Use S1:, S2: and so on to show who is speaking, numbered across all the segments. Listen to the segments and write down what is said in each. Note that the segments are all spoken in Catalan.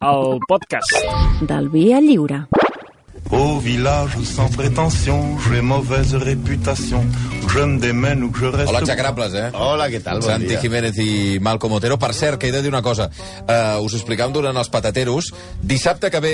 S1: el podcast.
S2: del Via Lliure.
S3: Au village sans prétention, j'ai mauvaise réputation. Je me démène ou que je reste...
S4: Hola, execrables, eh?
S5: Hola, què tal? Bon
S4: Santi
S5: dia.
S4: Jiménez i Malcom Otero. Per cert, que he de dir una cosa. Uh, us ho explicàvem durant els patateros. Dissabte que ve,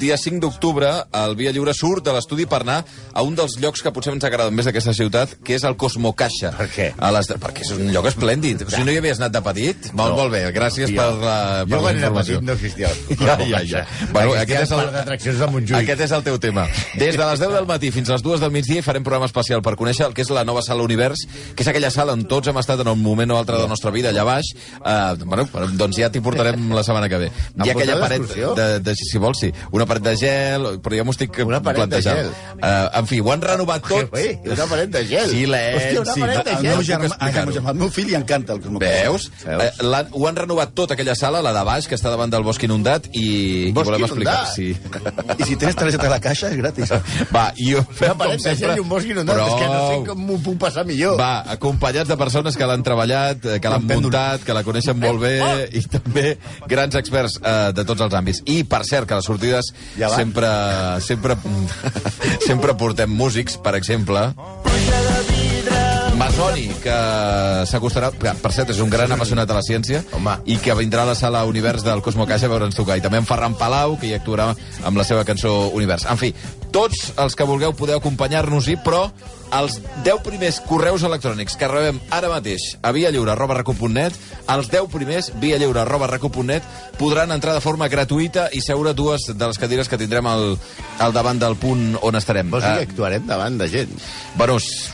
S4: dia 5 d'octubre, el Via Lliure surt de l'estudi per anar a un dels llocs que potser ens agraden més d'aquesta ciutat, que és el Cosmocaixa.
S5: Per què?
S4: A les... Perquè és un lloc esplèndid. Si no hi havies anat de petit, molt, molt bé. Gràcies
S5: Jo-
S4: per la, per
S5: Jo
S4: la
S5: quan era
S4: informació.
S5: petit no existia.
S4: Ja, ja, ja. Bueno, aquest és el-
S5: parc d'atraccions de Montjuïc.
S4: Aquest és el teu tema. Des de les 10 del matí fins a les 2 del migdia hi farem programa especial per conèixer el que és la nova sala Univers, que és aquella sala on tots hem estat en un moment o altre de la nostra vida, allà baix. Uh, bueno, però, doncs ja t'hi portarem la setmana que ve.
S5: Em
S4: Hi ha aquella
S5: porteu
S4: paret,
S5: d'excursió?
S4: de, de, si vols, sí, una paret de gel, però ja m'ho estic
S5: Una paret de
S4: plantejant.
S5: gel.
S4: Uh, en fi, ho han renovat tot.
S5: Ui, una paret de gel.
S4: Silenci.
S5: Hòstia, una paret de
S6: El
S5: gel.
S6: meu
S4: puc
S6: germà, el
S4: explicar-ho.
S6: meu, germà, el meu fill li encanta el cosmopolític.
S4: Veus? Eh, l'han- ho han renovat tot, aquella sala, la de baix, que està davant del bosc inundat, i, i
S5: Bosc
S4: volem explicar...
S5: inundat?
S4: Sí.
S6: I si tens targeta de la caixa, és gratis.
S4: Va, i ho fem
S5: Una
S4: com
S5: paret de
S4: sempre.
S5: gel i un bosc inundat. És que no sé
S4: Prou.
S5: com m'ho puc passar millor.
S4: Va, acompanyats de persones que l'han treballat, eh, que l'han
S6: Pèndol.
S4: muntat, que la coneixen molt bé
S5: Oh!
S4: i també grans experts eh, de tots els àmbits. I, per cert, que a les sortides
S6: Ja va.
S4: sempre, sempre, sempre portem músics, per exemple... Masoni, que s'acostarà... que, Per cert, és un gran apassionat a la ciència
S5: Home.
S4: i que vindrà a la sala Univers del Cosmo Caixa a veure'ns tocar. I també en Ferran Palau, que hi actuarà amb la seva cançó Univers. En fi, tots els que vulgueu podeu acompanyar-nos-hi, però els 10 primers correus electrònics que rebem ara mateix a vialliure arroba recu.net, els 10 primers vialliure arroba recu.net podran entrar de forma gratuïta i seure dues de les cadires que tindrem al, al davant del punt on estarem.
S5: Vols dir
S4: Eh,
S5: que actuarem davant de gent?
S4: bueno, s-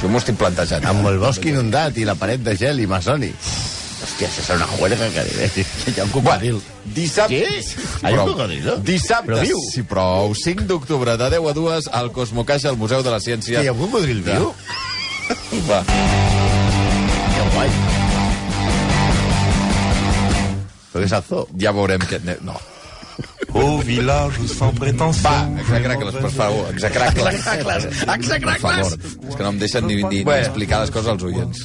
S4: jo m'ho estic plantejant.
S5: Amb el bosc inundat i la paret de gel i masoni. Hòstia, això serà una juerga que diré. Hi ha un cocodril.
S4: Dissabte...
S5: Què? Hi ha un cocodril?
S4: Dissabte,
S5: Però viu?
S4: sí, prou, 5 d'octubre, de 10 a 2, al Cosmocaixa, al Museu de la
S5: Hi
S4: Ciència.
S5: ha un cocodril viu?
S4: Va.
S5: Que guai. Però què és el zoo?
S4: Ja veurem que... No.
S3: Au village sans prétention,
S4: Va, exacracles, per favor, exacracles. Exacracles, exacracles. Per favor, és que no em deixen ni, ni, ni
S5: Bueno.
S4: explicar les coses als oients.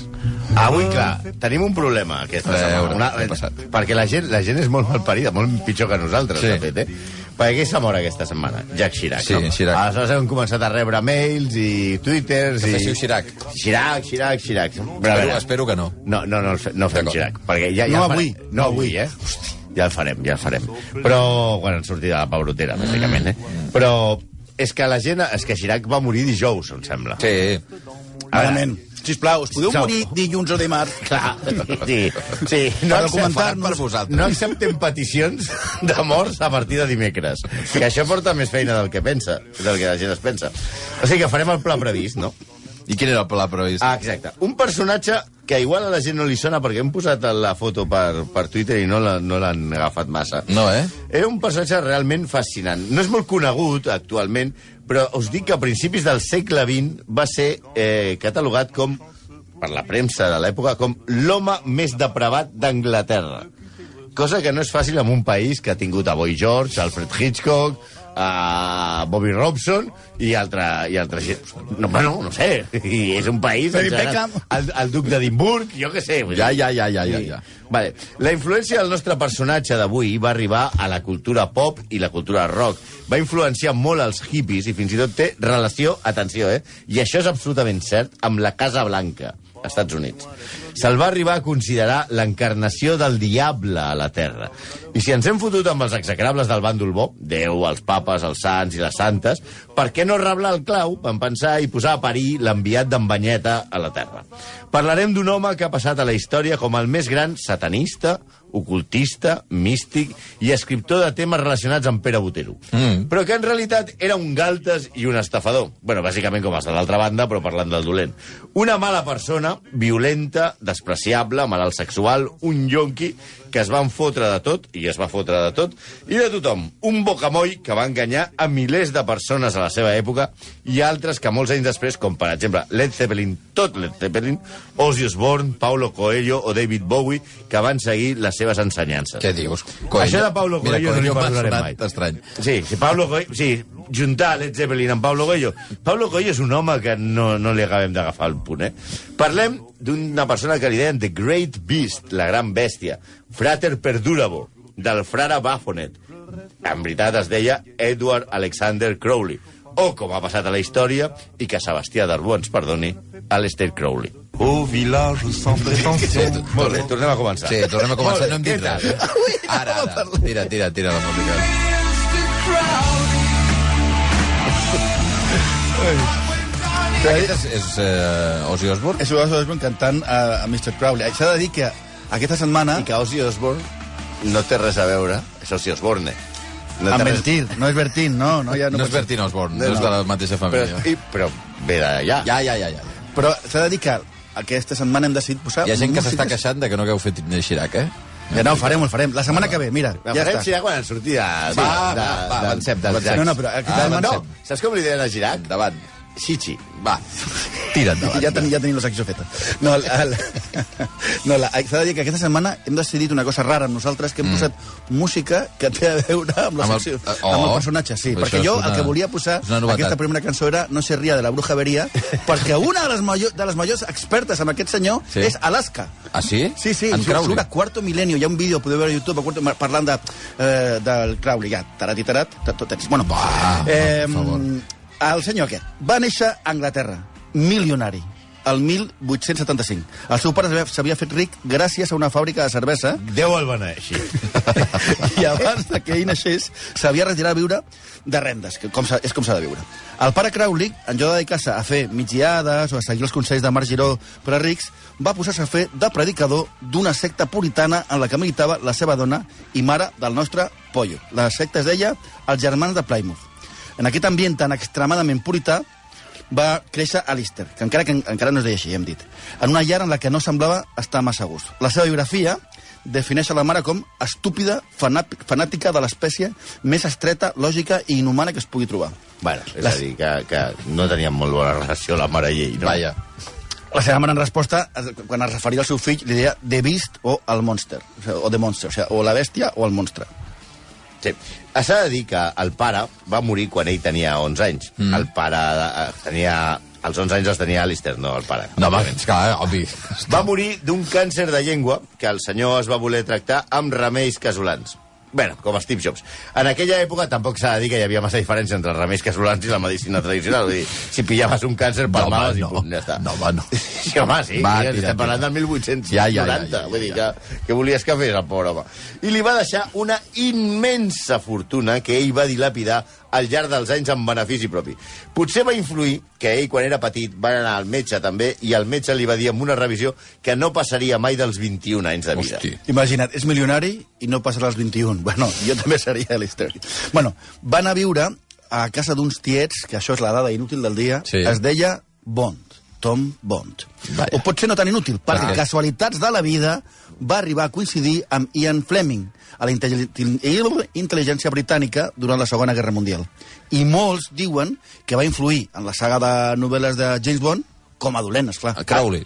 S5: Avui, clar, tenim un problema aquesta
S4: A
S5: setmana.
S4: veure,
S5: Una,
S4: què Eh, ha passat?
S5: perquè la gent, la gent és molt malparida, molt pitjor que nosaltres,
S4: Sí.
S5: sí. de fet, eh? Perquè què s'ha mort aquesta setmana? Jacques Chirac,
S4: Sí,
S5: no?
S4: Chirac.
S5: Aleshores hem començat a rebre mails i twitters...
S4: Que
S5: i...
S4: féssiu Chirac.
S5: Chirac, Chirac, Chirac. Però, a
S4: Espero,
S5: veure,
S4: espero que no.
S5: no, no, no, el fe- no fem
S4: D'acord.
S5: Chirac. Perquè ja, ja
S6: No
S5: el farem.
S6: avui.
S5: No avui, eh? Ja el farem, ja el farem. Però quan ens sortirà la pebrotera, bàsicament, eh? Però és que la gent... És que Chirac va morir dijous, em sembla.
S4: Sí.
S6: Malament. Sisplau, us podeu
S5: Sisplau.
S6: morir dilluns o dimarts?
S5: Clar, sí, sí. No
S4: Per
S5: acceptem-
S4: documentar-nos. Per vosaltres.
S5: No acceptem peticions de morts a partir de dimecres. Que això porta més feina del que pensa, del que la gent es pensa. O sigui que farem el pla previst, no?
S4: I quin era el pla previst?
S5: Ah, exacte. Un personatge que igual a la gent no li sona perquè hem posat la foto per, per Twitter i no la- no l'han no agafat massa.
S4: No, eh?
S5: És un personatge realment fascinant. No és molt conegut actualment, però us dic que a principis del segle XX va ser eh, catalogat com, per la premsa de l'època, com l'home més depravat d'Anglaterra. Cosa que no és fàcil en un país que ha tingut a Boy George, Alfred Hitchcock, a Bobby Robson i altra, i altra gent. No, bueno, no sé. I és un país...
S6: David
S5: en general,
S6: Beckham.
S5: El, el duc d'Edimburg, jo què sé. vull dir-
S4: Ja, ja, ja, ja, ja.
S5: Sí.
S4: ja.
S5: Vale. La influència del nostre personatge d'avui va arribar a la cultura pop i la cultura rock. Va influenciar molt els hippies i fins i tot té relació, atenció, eh? I això és absolutament cert, amb la Casa Blanca, Estats Units. Se'l va arribar a considerar l'encarnació del diable a la Terra. I si ens hem fotut amb els execrables del bàndol bo, Déu, els papes, els sants i les santes, per què no reblar el clau, van pensar, i posar a parir l'enviat d'en Banyeta a la Terra? Parlarem d'un home que ha passat a la història com el més gran satanista, ocultista, místic i escriptor de temes relacionats amb Pere Botero. Mm. Però que en realitat era un galtes i un estafador. bueno, bàsicament com els de l'altra banda, però parlant del dolent. Una mala persona, violenta, despreciable, malalt sexual, un yonqui que es van fotre de tot, i es va fotre de tot, i de tothom. Un bocamoll que va enganyar a milers de persones a la seva època i altres que molts anys després, com per exemple Led Zeppelin, tot Led Zeppelin, Ozzy Osbourne, Paulo Coelho o David Bowie, que van seguir les seves ensenyances.
S4: Què dius?
S5: Això de Paulo
S4: Mira,
S5: Coelho no li
S4: Coelho m'ha
S5: perdonarem
S4: sonat
S5: mai.
S4: estrany.
S5: Sí, sí, Pablo Coelho, sí, juntar Led Zeppelin amb Pablo Coelho. Pablo Coelho és un home que no, no li acabem d'agafar el punt, eh? Parlem d'una persona que li deien The Great Beast, la gran bèstia, Frater Perdurabo, del frare Bafonet. En veritat es deia Edward Alexander Crowley, o com ha passat a la història, i que Sebastià d'Arbó ens perdoni, Aleister Crowley.
S3: Au village sans prétention.
S5: Molt bé, tornem a començar.
S4: Sí, tornem a començar, no hem dit res. Ara, ara,
S6: parlar.
S4: tira, tira, tira la música. Aquest és, és eh, Ozzy Osbourne?
S6: És Ozzy Osbourne cantant a, a Mr. Crowley. S'ha de dir que aquesta setmana...
S5: I que Ozzy Osbourne no té res a veure, és Ozzy Osbourne. No
S6: Amb
S5: té res...
S6: mentir, no és Bertín, no. No, ja
S4: No,
S6: no,
S4: és
S6: pot ser.
S4: Bertin Osbourne, no, és de la mateixa família.
S5: Però, i, però ve d'allà.
S4: Ja, ja, ja, ja.
S6: Però s'ha de dir que aquesta setmana hem decidit posar...
S4: Hi ha gent que s'està
S6: músiques-
S4: queixant de que no hagueu fet Xirac, eh?
S6: Ja, no, ho farem, ho farem. La setmana que ve, mira,
S5: La
S6: ja
S5: farem
S6: està.
S5: girar quan en surti de... de-
S4: va, va,
S5: de- de-
S4: avancem,
S5: de-
S4: avancem.
S6: No, no, però aquesta
S5: Ah,
S6: setmana-
S5: no, saps com li deien a Girac?
S4: Endavant.
S5: Xixi.
S4: Va, tira endavant.
S6: Ja, ten, ja tenim la secció feta. No, el, el, no la, s'ha de dir que aquesta setmana hem decidit una cosa rara amb nosaltres, que hem posat música que té a veure amb la
S4: Mm. Amb el-
S6: secció, amb
S4: eh,
S6: el,
S4: oh.
S6: personatge, sí.
S4: Això
S6: perquè jo
S4: és una-
S6: el que volia posar
S4: és una novetat.
S6: aquesta primera cançó era No se ria de la brujeria, perquè una de les, major, de les majors expertes amb aquest senyor
S4: Sí.
S6: sí. és Alaska.
S4: Ah, sí?
S6: Sí, sí,
S4: En
S6: en
S4: Crowley.
S6: surt a Quarto Milenio. Hi ha un vídeo, podeu veure a YouTube, a Quarto, parlant de, eh, del Crowley. Ja, tarat i tarat, ta- tot tens. Bueno,
S4: Va,
S6: eh,
S4: per favor.
S6: El senyor aquest va néixer a Anglaterra, milionari, el 1875. El seu pare s'havia- s'havia fet ric gràcies a una fàbrica de cervesa
S5: Déu el beneixi.
S6: i abans de que ell naixés s'havia retirat a viure de rendes, que com s'ha- és com s'ha de viure. El pare Crowley, en lloc de dedicar-se a fer mitjades o a seguir els consells de Marc Giró per a rics, va posar-se a fer de predicador d'una secta puritana en la que militava la seva dona i mare del nostre pollo. La secta es deia els germans de Plymouth. En aquest ambient tan extremadament purità, va créixer a Lister, que encara, que encara no es deia així, hem dit, en una llar en la que no semblava estar massa a gust. La seva biografia defineix a la mare com estúpida, fanap- fanàtica de l'espècie més estreta, lògica i inhumana que es pugui trobar.
S5: bueno, és
S6: Les-
S5: a dir, que, que no teníem molt bona relació la mare i ell. No?
S4: Vaja.
S6: La seva mare, en resposta, es- quan es referia al seu fill, li deia The Beast o el Monster, o, sigui, o The Monster, o, sigui, o la bèstia o el monstre.
S5: Sí. S'ha de dir que el pare va morir quan ell tenia 11 anys. Mm. El pare eh, tenia... Als 11 anys els tenia Alistair, no el pare.
S4: No, home, és clar, obvi.
S5: Va morir d'un càncer de llengua que el senyor es va voler tractar amb remeis casolans. Bé, com Steve Jobs. En aquella època tampoc s'ha de dir que hi havia massa diferència entre els remeis casolans i la medicina tradicional. Vull dir, si pillaves un càncer
S4: No,
S5: pel
S4: home,
S5: mal,
S4: no.
S5: no, ja està.
S4: No, home, no.
S5: Sí, home, sí.
S4: Va, tira,
S5: Va, tira,
S4: tira.
S5: estem parlant del 1890.
S4: Ja, ja, ja, ja, ja.
S5: Vull dir que, que volies que fes, el pobre home. I li va deixar una immensa fortuna que ell va dilapidar al llarg dels anys en benefici propi. Potser va influir que ell, quan era petit, va anar al metge també, i el metge li va dir amb una revisió que no passaria mai dels 21 anys de vida.
S4: Hosti.
S6: Imagina't, és milionari i no passarà els 21. Bueno, jo també seria l'història. Bueno, van a viure a casa d'uns tiets, que això és la dada inútil del dia,
S4: Sí.
S6: es deia Bond, Tom Bond.
S4: Vaja.
S6: O potser no tan inútil, perquè
S4: Clar.
S6: casualitats de la vida va arribar a coincidir amb Ian Fleming, a la intel·li- intel·ligència britànica durant la Segona Guerra Mundial. I molts diuen que va influir en la saga de novel·les de James Bond com a dolent, Ah, esclar.
S4: Crowley.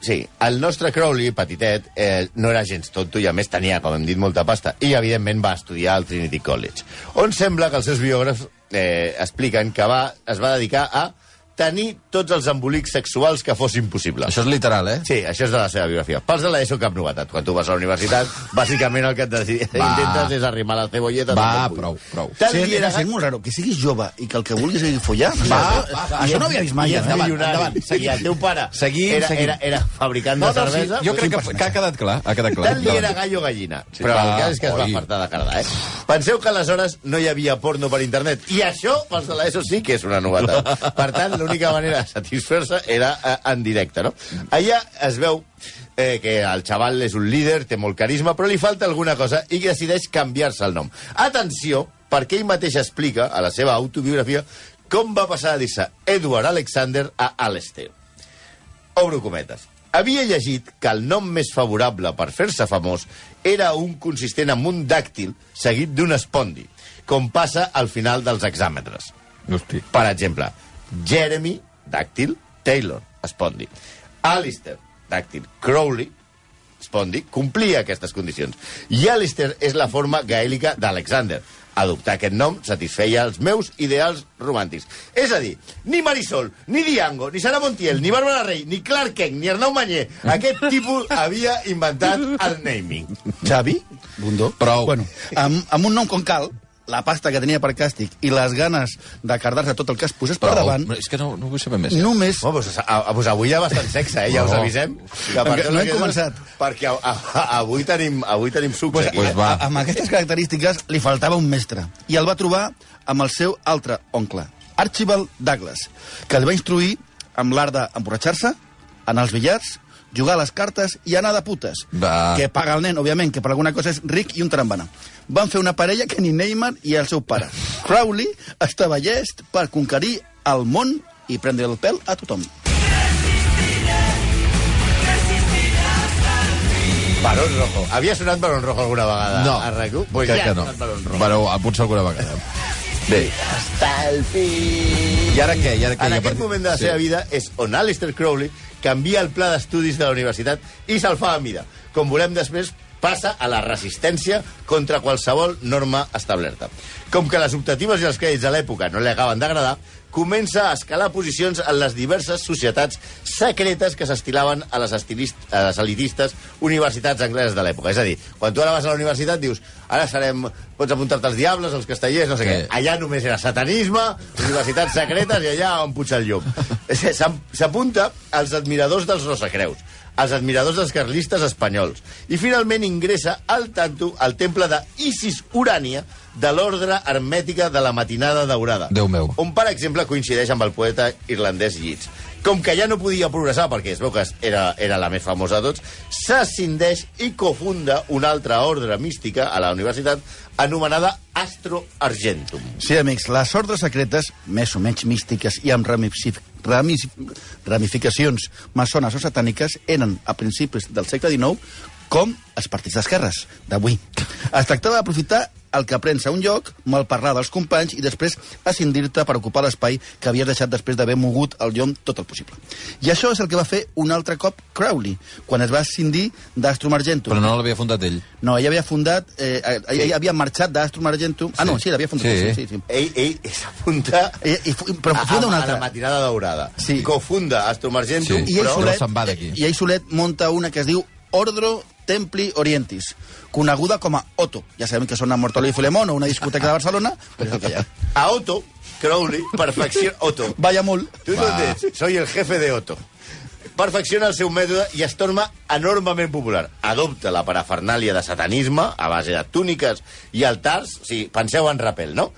S5: Sí, el nostre Crowley, petitet, eh, no era gens tonto i a més tenia, com hem dit, molta pasta. I, evidentment, va estudiar al Trinity College, on sembla que els seus biògrafs eh, expliquen que va, es va dedicar a tenir tots els embolics sexuals que fossin possibles.
S4: Això és literal, eh?
S5: Sí, això és de la seva biografia. Pels de l'ESO, cap novetat. Quan tu vas a la universitat, bàsicament el que et deci-
S4: Va.
S5: intentes és arrimar la cebolleta.
S4: Va,
S5: tot el puny.
S4: prou, prou.
S5: Tal
S6: Sí,
S5: dia
S6: era
S5: era...
S6: gent molt raro, que siguis jove i que el que vulguis sigui follar. Va, va, va, això no havia vist mai.
S5: I
S6: eh?
S5: ets milionari. Seguia, el teu pare
S4: Seguim,
S5: era,
S4: seguim.
S5: Era, era fabricant de cervesa.
S4: jo crec que, que ha quedat clar, ha quedat clar. doncs.
S5: Tant li era gallo gallina.
S4: Sí,
S5: Sí, però
S4: clar,
S5: el cas és que es va
S4: oi.
S5: fartar de carda, eh? Penseu que aleshores no hi havia porno per internet. I això, pels de l'ESO, sí que és una novetat. Per tant, l'única manera de satisfer-se era eh, en directe, no? Allà es veu eh, que el xaval és un líder, té molt carisma, però li falta alguna cosa i decideix canviar-se el nom. Atenció, perquè ell mateix explica a la seva autobiografia com va passar a dir-se Edward Alexander a Alistair. Obro cometes. Havia llegit que el nom més favorable per fer-se famós era un consistent amb un dàctil seguit d'un espondi, com passa al final dels exàmetres.
S4: Hosti.
S5: Per exemple, Jeremy, dàctil, Taylor, espondi. Alistair, dàctil, Crowley, espondi, complia aquestes condicions. I Alistair és la forma gaèlica d'Alexander, Adoptar aquest nom satisfeia els meus ideals romàntics. És a dir, ni Marisol, ni Diango, ni Sara Montiel, ni Bàrbara Rey, ni Clark Kent, ni Arnau Mañé, aquest tipus havia inventat el naming.
S6: Xavi, Bundó.
S4: Prou.
S6: Bueno, amb, amb un nom com cal, la pasta que tenia per càstig i les ganes de cardar-se tot el que es posés per
S4: Prou.
S6: davant,
S4: És que no, no vull saber més.
S6: només...
S5: Oh, doncs, a, a, doncs avui hi ha bastant sexe, eh? ja us
S4: No.
S5: avisem. Que a
S6: Encara
S5: partir
S6: no hem
S5: d'aquí-
S6: començat.
S5: Perquè a, a, a, avui tenim, avui tenim eh? Ah, sucs
S6: Pues,
S5: aquí.
S4: Pues va.
S6: a- Amb aquestes característiques li faltava un mestre i el va trobar amb el seu altre oncle, Archibald Douglas, que el va instruir amb l'art d'emborratxar-se, anar als billars, jugar a les cartes i anar de putes.
S4: Va.
S6: Que paga el nen, òbviament, que per alguna cosa és ric i un trambana. Van fer una parella que ni Neymar i el seu pare. Crowley estava llest per conquerir el món i prendre el pèl a tothom.
S5: Barón Rojo. Havia sonat Barón Rojo alguna vegada?
S4: No,
S5: A rac uh,
S4: crec que no. Bueno, potser alguna vegada. Bé,
S5: Hasta el fin.
S4: i ara què? I ara què?
S5: En
S4: I a
S5: aquest
S4: partir-
S5: moment de la seva vida és on Alistair Crowley canvia el pla d'estudis de la universitat i se'l fa a mida. Com volem després, passa a la resistència contra qualsevol norma establerta. Com que les optatives i els crèdits de l'època no li acaben d'agradar, comença a escalar posicions en les diverses societats secretes que s'estilaven a, les estilist- a les elitistes universitats angleses de l'època. És a dir, quan tu ara vas a la universitat dius ara serem... pots apuntar-te als diables, als castellers, no sé què.
S4: Sí.
S5: Allà només era satanisme, universitats secretes i allà on puja el llop. S'am- S'apunta als admiradors dels Rosacreus, als admiradors dels carlistes espanyols i finalment ingressa al tanto al temple de Isis Urània de l'ordre hermètica de la matinada daurada.
S4: Déu meu.
S5: On, per exemple, coincideix amb el poeta irlandès Yeats. Com que ja no podia progressar, perquè es veu que era, era la més famosa de tots, s'ascindeix i cofunda una altra ordre mística a la universitat anomenada Astro Argentum.
S6: Sí, amics, les ordres secretes, més o menys místiques i amb ramif- ramif- ramificacions maçones o satàniques, eren a principis del segle XIX com els partits d'esquerres d'avui. Es tractava d'aprofitar el que aprens a un lloc, malparlar dels companys i després ascendir-te per ocupar l'espai que havies deixat després d'haver mogut el llom tot el possible. I això és el que va fer un altre cop Crowley, quan es va ascendir d'Astrum Argentum.
S4: Però no l'havia fundat ell.
S6: No, ell havia fundat... Eh, eh, ell, ell havia marxat d'Astrum Argentum... Ah, no, sí, l'havia fundat.
S4: Sí.
S6: Sí, sí, sí.
S5: Ell, ell s'apunta
S6: Eh, I, i, fu- però funda
S5: a, a,
S6: una
S5: a la
S6: altra.
S5: matinada daurada.
S6: Sí.
S5: Cofunda Astro Argentum,
S4: Sí.
S6: I ell,
S5: però...
S4: Però
S6: solet,
S4: se'n va d'aquí.
S6: I ell solet munta una que es diu Ordro Templi Orientis, coneguda com a Otto. Ja sabem que són a Mortoli i Filemón o una discoteca de Barcelona, però és el que hi ha.
S5: A Otto, Crowley, perfecciona... Otto,
S6: Balla molt.
S5: Tu
S4: Va.
S5: d'on ets? Soy el jefe de Otto. Perfecciona el seu mètode i es torna enormement popular. Adopta la parafernàlia de satanisme a base de túniques i altars, o sigui, penseu en rapel, no?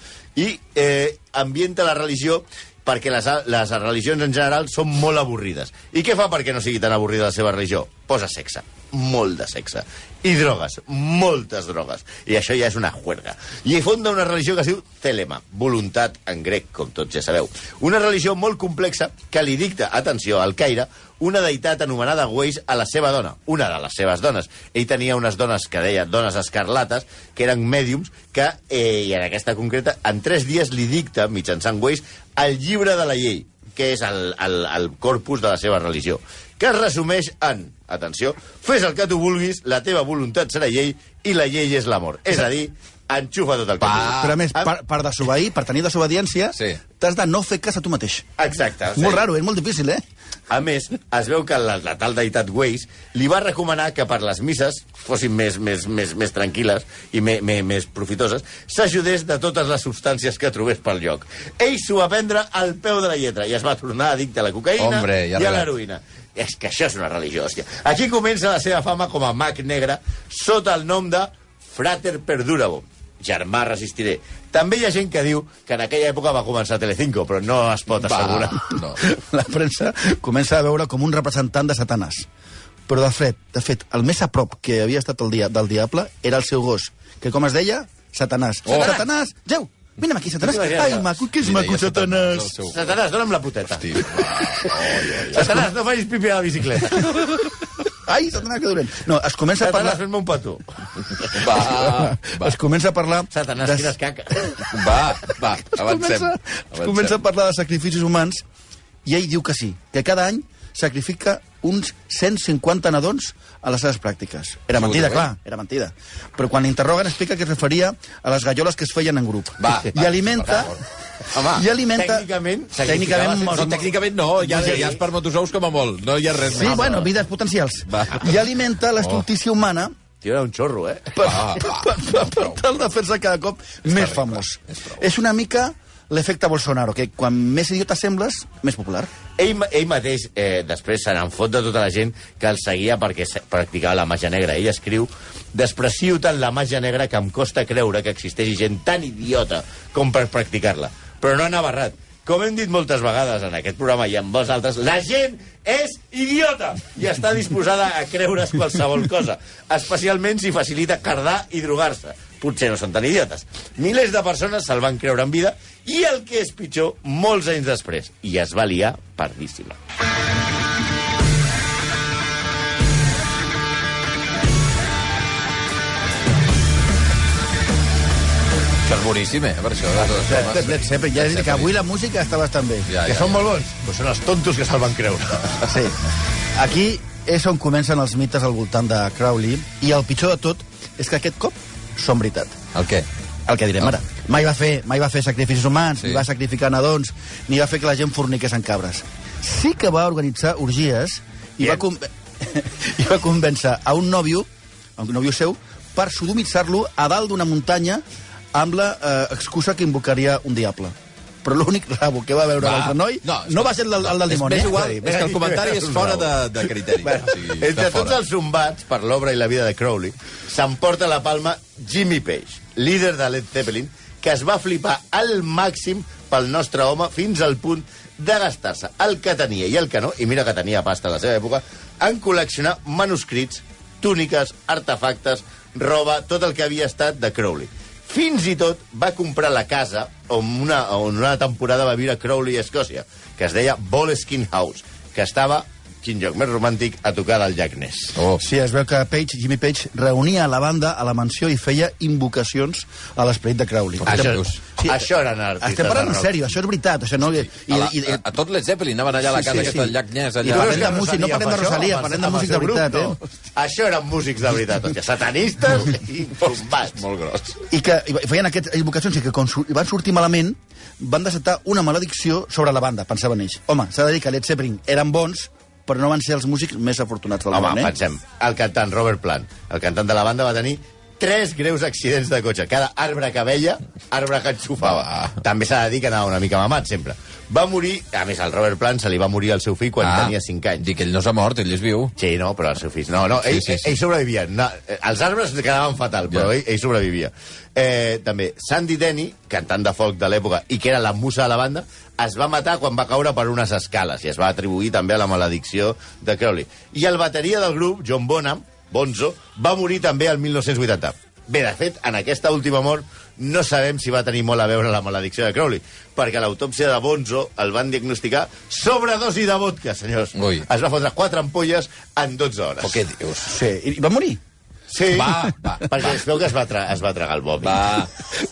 S5: I eh, ambienta la religió perquè les, les religions en general són molt avorrides. I què fa perquè no sigui tan avorrida la seva religió? Posa sexe, molt de sexe. I drogues, moltes drogues. I això ja és una juerga. I hi fonda una religió que es diu Telema, voluntat en grec, com tots ja sabeu. Una religió molt complexa que li dicta, atenció, al Caire, una deïtat anomenada Weiss a la seva dona, una de les seves dones. Ell tenia unes dones que deia dones escarlates, que eren mèdiums, que, eh, i en aquesta concreta, en tres dies li dicta, mitjançant Weiss, el llibre de la llei, que és el, el, el corpus de la seva religió, que es resumeix en, atenció, fes el que tu vulguis, la teva voluntat serà llei i la llei és l'amor. És a dir, enxufa tot el que
S4: Pa.
S5: tu
S6: Ah,
S5: vulguis.
S6: però a més,
S5: ah.
S6: per, per desobeir, per tenir desobediència,
S4: Sí.
S6: t'has de no fer cas a tu mateix.
S5: Exacte.
S6: Sí. Molt raro, és molt difícil, eh?
S5: A més, es veu que la, la tal deïtat Weiss li va recomanar que per les misses fossin més, més, més, més tranquil·les i me, me, més profitoses, s'ajudés de totes les substàncies que trobés pel lloc. Ell s'ho va prendre al peu de la lletra i es va tornar addicte a la cocaïna
S4: Hombre,
S5: i
S4: ja
S5: a
S4: arreglat.
S5: l'heroïna. És que això és una religió, hòstia. Aquí comença la seva fama com a mag negre sota el nom de Frater Perdurabo. Germà, resistiré. També hi ha gent que diu que en aquella època va començar Telecinco, però no es pot assegurar.
S4: No.
S6: La premsa comença a veure com un representant de Satanàs. Però, de fet, de fet, el més a prop que havia estat el dia del diable era el seu gos, que, com es deia, Satanàs. Oh. Satanàs! Geu! Vine'm aquí, Satanàs!
S5: Imagina't.
S6: Ai, maco, que és
S4: Li deia
S6: maco,
S4: Satanàs
S6: Satanàs!
S4: al seu-
S5: Satanàs, dona'm la puteta.
S4: Hosti, va.
S5: Satanàs, no facis pipi a la bicicleta.
S6: Ai, Satanàs, que dolent! No, es comença a
S5: Satanàs,
S6: parlar...
S5: fes-me un petó.
S4: Va, va.
S6: Es comença a parlar...
S5: Satanàs,
S6: de-
S5: quines caques.
S4: Va, va, avancem.
S6: comença, es comença a parlar de sacrificis humans i ell diu que sí, que cada any sacrifica uns 150 nadons a les seves pràctiques. Era mentida, clar, era mentida. Però quan l'interroguen explica que es referia a les galloles que es feien en grup.
S4: Va,
S6: I
S4: va,
S6: alimenta...
S4: per favor. Home,
S6: I alimenta...
S5: tècnicament,
S6: Tècnicament...
S5: significava
S4: No,
S6: molt-
S4: tècnicament no, ja, ja és per motosous com a molt. No hi ha res
S6: Sí,
S4: més.
S6: bueno, vides potencials.
S4: Va. Oh.
S6: I alimenta l'estultícia humana
S5: Tio, era un xorro, eh?
S6: per,
S4: Va,
S6: per, per, per tal de fer-se cada cop més famós. Ah, És, una mica l'efecte Bolsonaro, que quan més idiota sembles, més popular.
S5: Ell, ma- ell mateix, eh, després, se n'en fot de tota la gent que el seguia perquè se- practicava la màgia negra. Ell escriu, desprecio tant la màgia negra que em costa creure que existeixi gent tan idiota com per practicar-la. Però no han abarrat. Com hem dit moltes vegades en aquest programa i en molts altres, la gent és idiota i està disposada a creure's qualsevol cosa, especialment si facilita cardar i drogar-se potser no són tan idiotes. Milers de persones se'l van creure en vida i el que és pitjor, molts anys després. I es va liar pardíssima.
S4: Això és boníssim, eh, per això. De totes formes.
S6: Led Zeppelin, ja he dit que avui la música està bastant bé.
S4: Ja, ja, ja.
S5: molt bons, però són els tontos que se'l van creure.
S6: Sí. Aquí és on comencen els mites al voltant de Crowley, i el pitjor de tot és que aquest cop són veritat.
S4: El què?
S6: El que direm
S4: Ah.
S6: ara. Mai va fer, mai va fer sacrificis humans,
S4: Sí.
S6: sí. ni va sacrificar nadons, ni va fer que la gent forniqués en cabres. Sí que va organitzar orgies i
S5: Bien.
S6: va, con... i va convèncer a un nòvio, a un nòvio seu, per sodomitzar-lo a dalt d'una muntanya amb la eh, excusa que invocaria un diable. Però l'únic rabo que va veure
S4: Va.
S6: l'altre noi no, no va ser el, del- el del dimoni.
S4: És, més igual,
S6: eh?
S4: és que el comentari és fora de, de criteri.
S5: Bueno,
S4: o sigui, està
S5: entre tots
S4: fora.
S5: els zombats per l'obra i la vida de Crowley, s'emporta la palma Jimmy Page, líder de Led Zeppelin, que es va flipar al màxim pel nostre home fins al punt de gastar-se el que tenia i el que no, i mira que tenia pasta a la seva època, en col·leccionar manuscrits, túniques, artefactes, roba, tot el que havia estat de Crowley. Fins i tot va comprar la casa on una, on una temporada va viure Crowley a Escòcia, que es deia Boleskin House, que estava quin lloc més romàntic a tocar del Jack Ness.
S4: Oh.
S6: Sí, es veu que Page, Jimmy Page reunia la banda a la mansió i feia invocacions a l'esperit de Crowley.
S4: Ah,
S5: Això,
S4: veus?
S5: sí, això eren artistes.
S6: Estem parlant en
S5: de rock.
S6: sèrio, això és veritat. Això no... I,
S4: A,
S6: i,
S4: la,
S6: i,
S4: a, a tot Led Zeppelin anaven allà a la
S6: Sí,
S4: casa
S6: sí,
S4: aquesta
S6: sí.
S4: del Llac Nés,
S6: I
S4: allà.
S6: tu
S5: Però
S6: parlem
S5: és que
S6: de músic, no
S5: sabia
S6: parlem de
S5: per això,
S6: Rosalia,
S5: amb
S6: parlem
S5: el-
S6: de
S5: amb el
S6: músics de
S5: seu grup,
S6: veritat,
S5: no. eh? Això eren músics de veritat, hòstia, satanistes i bombats.
S4: Molt gros.
S6: i que i feien aquestes invocacions i que quan sur- van sortir malament van desatar una maledicció sobre la banda, pensaven ells. Home, s'ha de dir que Led Zeppelin eren bons, però no van ser els músics més afortunats del
S5: Home,
S6: món, eh?
S5: pensem, el cantant Robert Plant, el cantant de la banda va tenir tres greus accidents de cotxe. Cada arbre que veia, arbre que enxufava. També s'ha de dir que anava una mica mamat, sempre. Va morir, a més, al Robert Plant se li va morir al seu fill
S4: Ah,
S5: quan tenia 5 anys.
S4: Dic, ell no s'ha mort, ell és viu.
S5: Sí, no, però els seus fills... No, no, ell, sí, sí, sí. ell sobrevivia. No, eh, els arbres quedaven fatal, però
S4: Ja.
S5: ell, ell sobrevivia. Eh, també, Sandy Denny, cantant de folk de l'època i que era la musa de la banda, es va matar quan va caure per unes escales i es va atribuir també a la maledicció de Crowley. I el bateria del grup, John Bonham, Bonzo, va morir també el 1980. Bé, de fet, en aquesta última mort no sabem si va tenir molt a veure la maledicció de Crowley, perquè a l'autòpsia de Bonzo el van diagnosticar sobredosi de vodka, senyors.
S4: Ui.
S5: Es va fotre quatre ampolles en 12 hores.
S4: O què dius?
S6: Sí, i i va morir.
S5: Sí.
S4: Va, va,
S5: Perquè es veu que es va, tra es va tragar el vòmit.
S4: Va,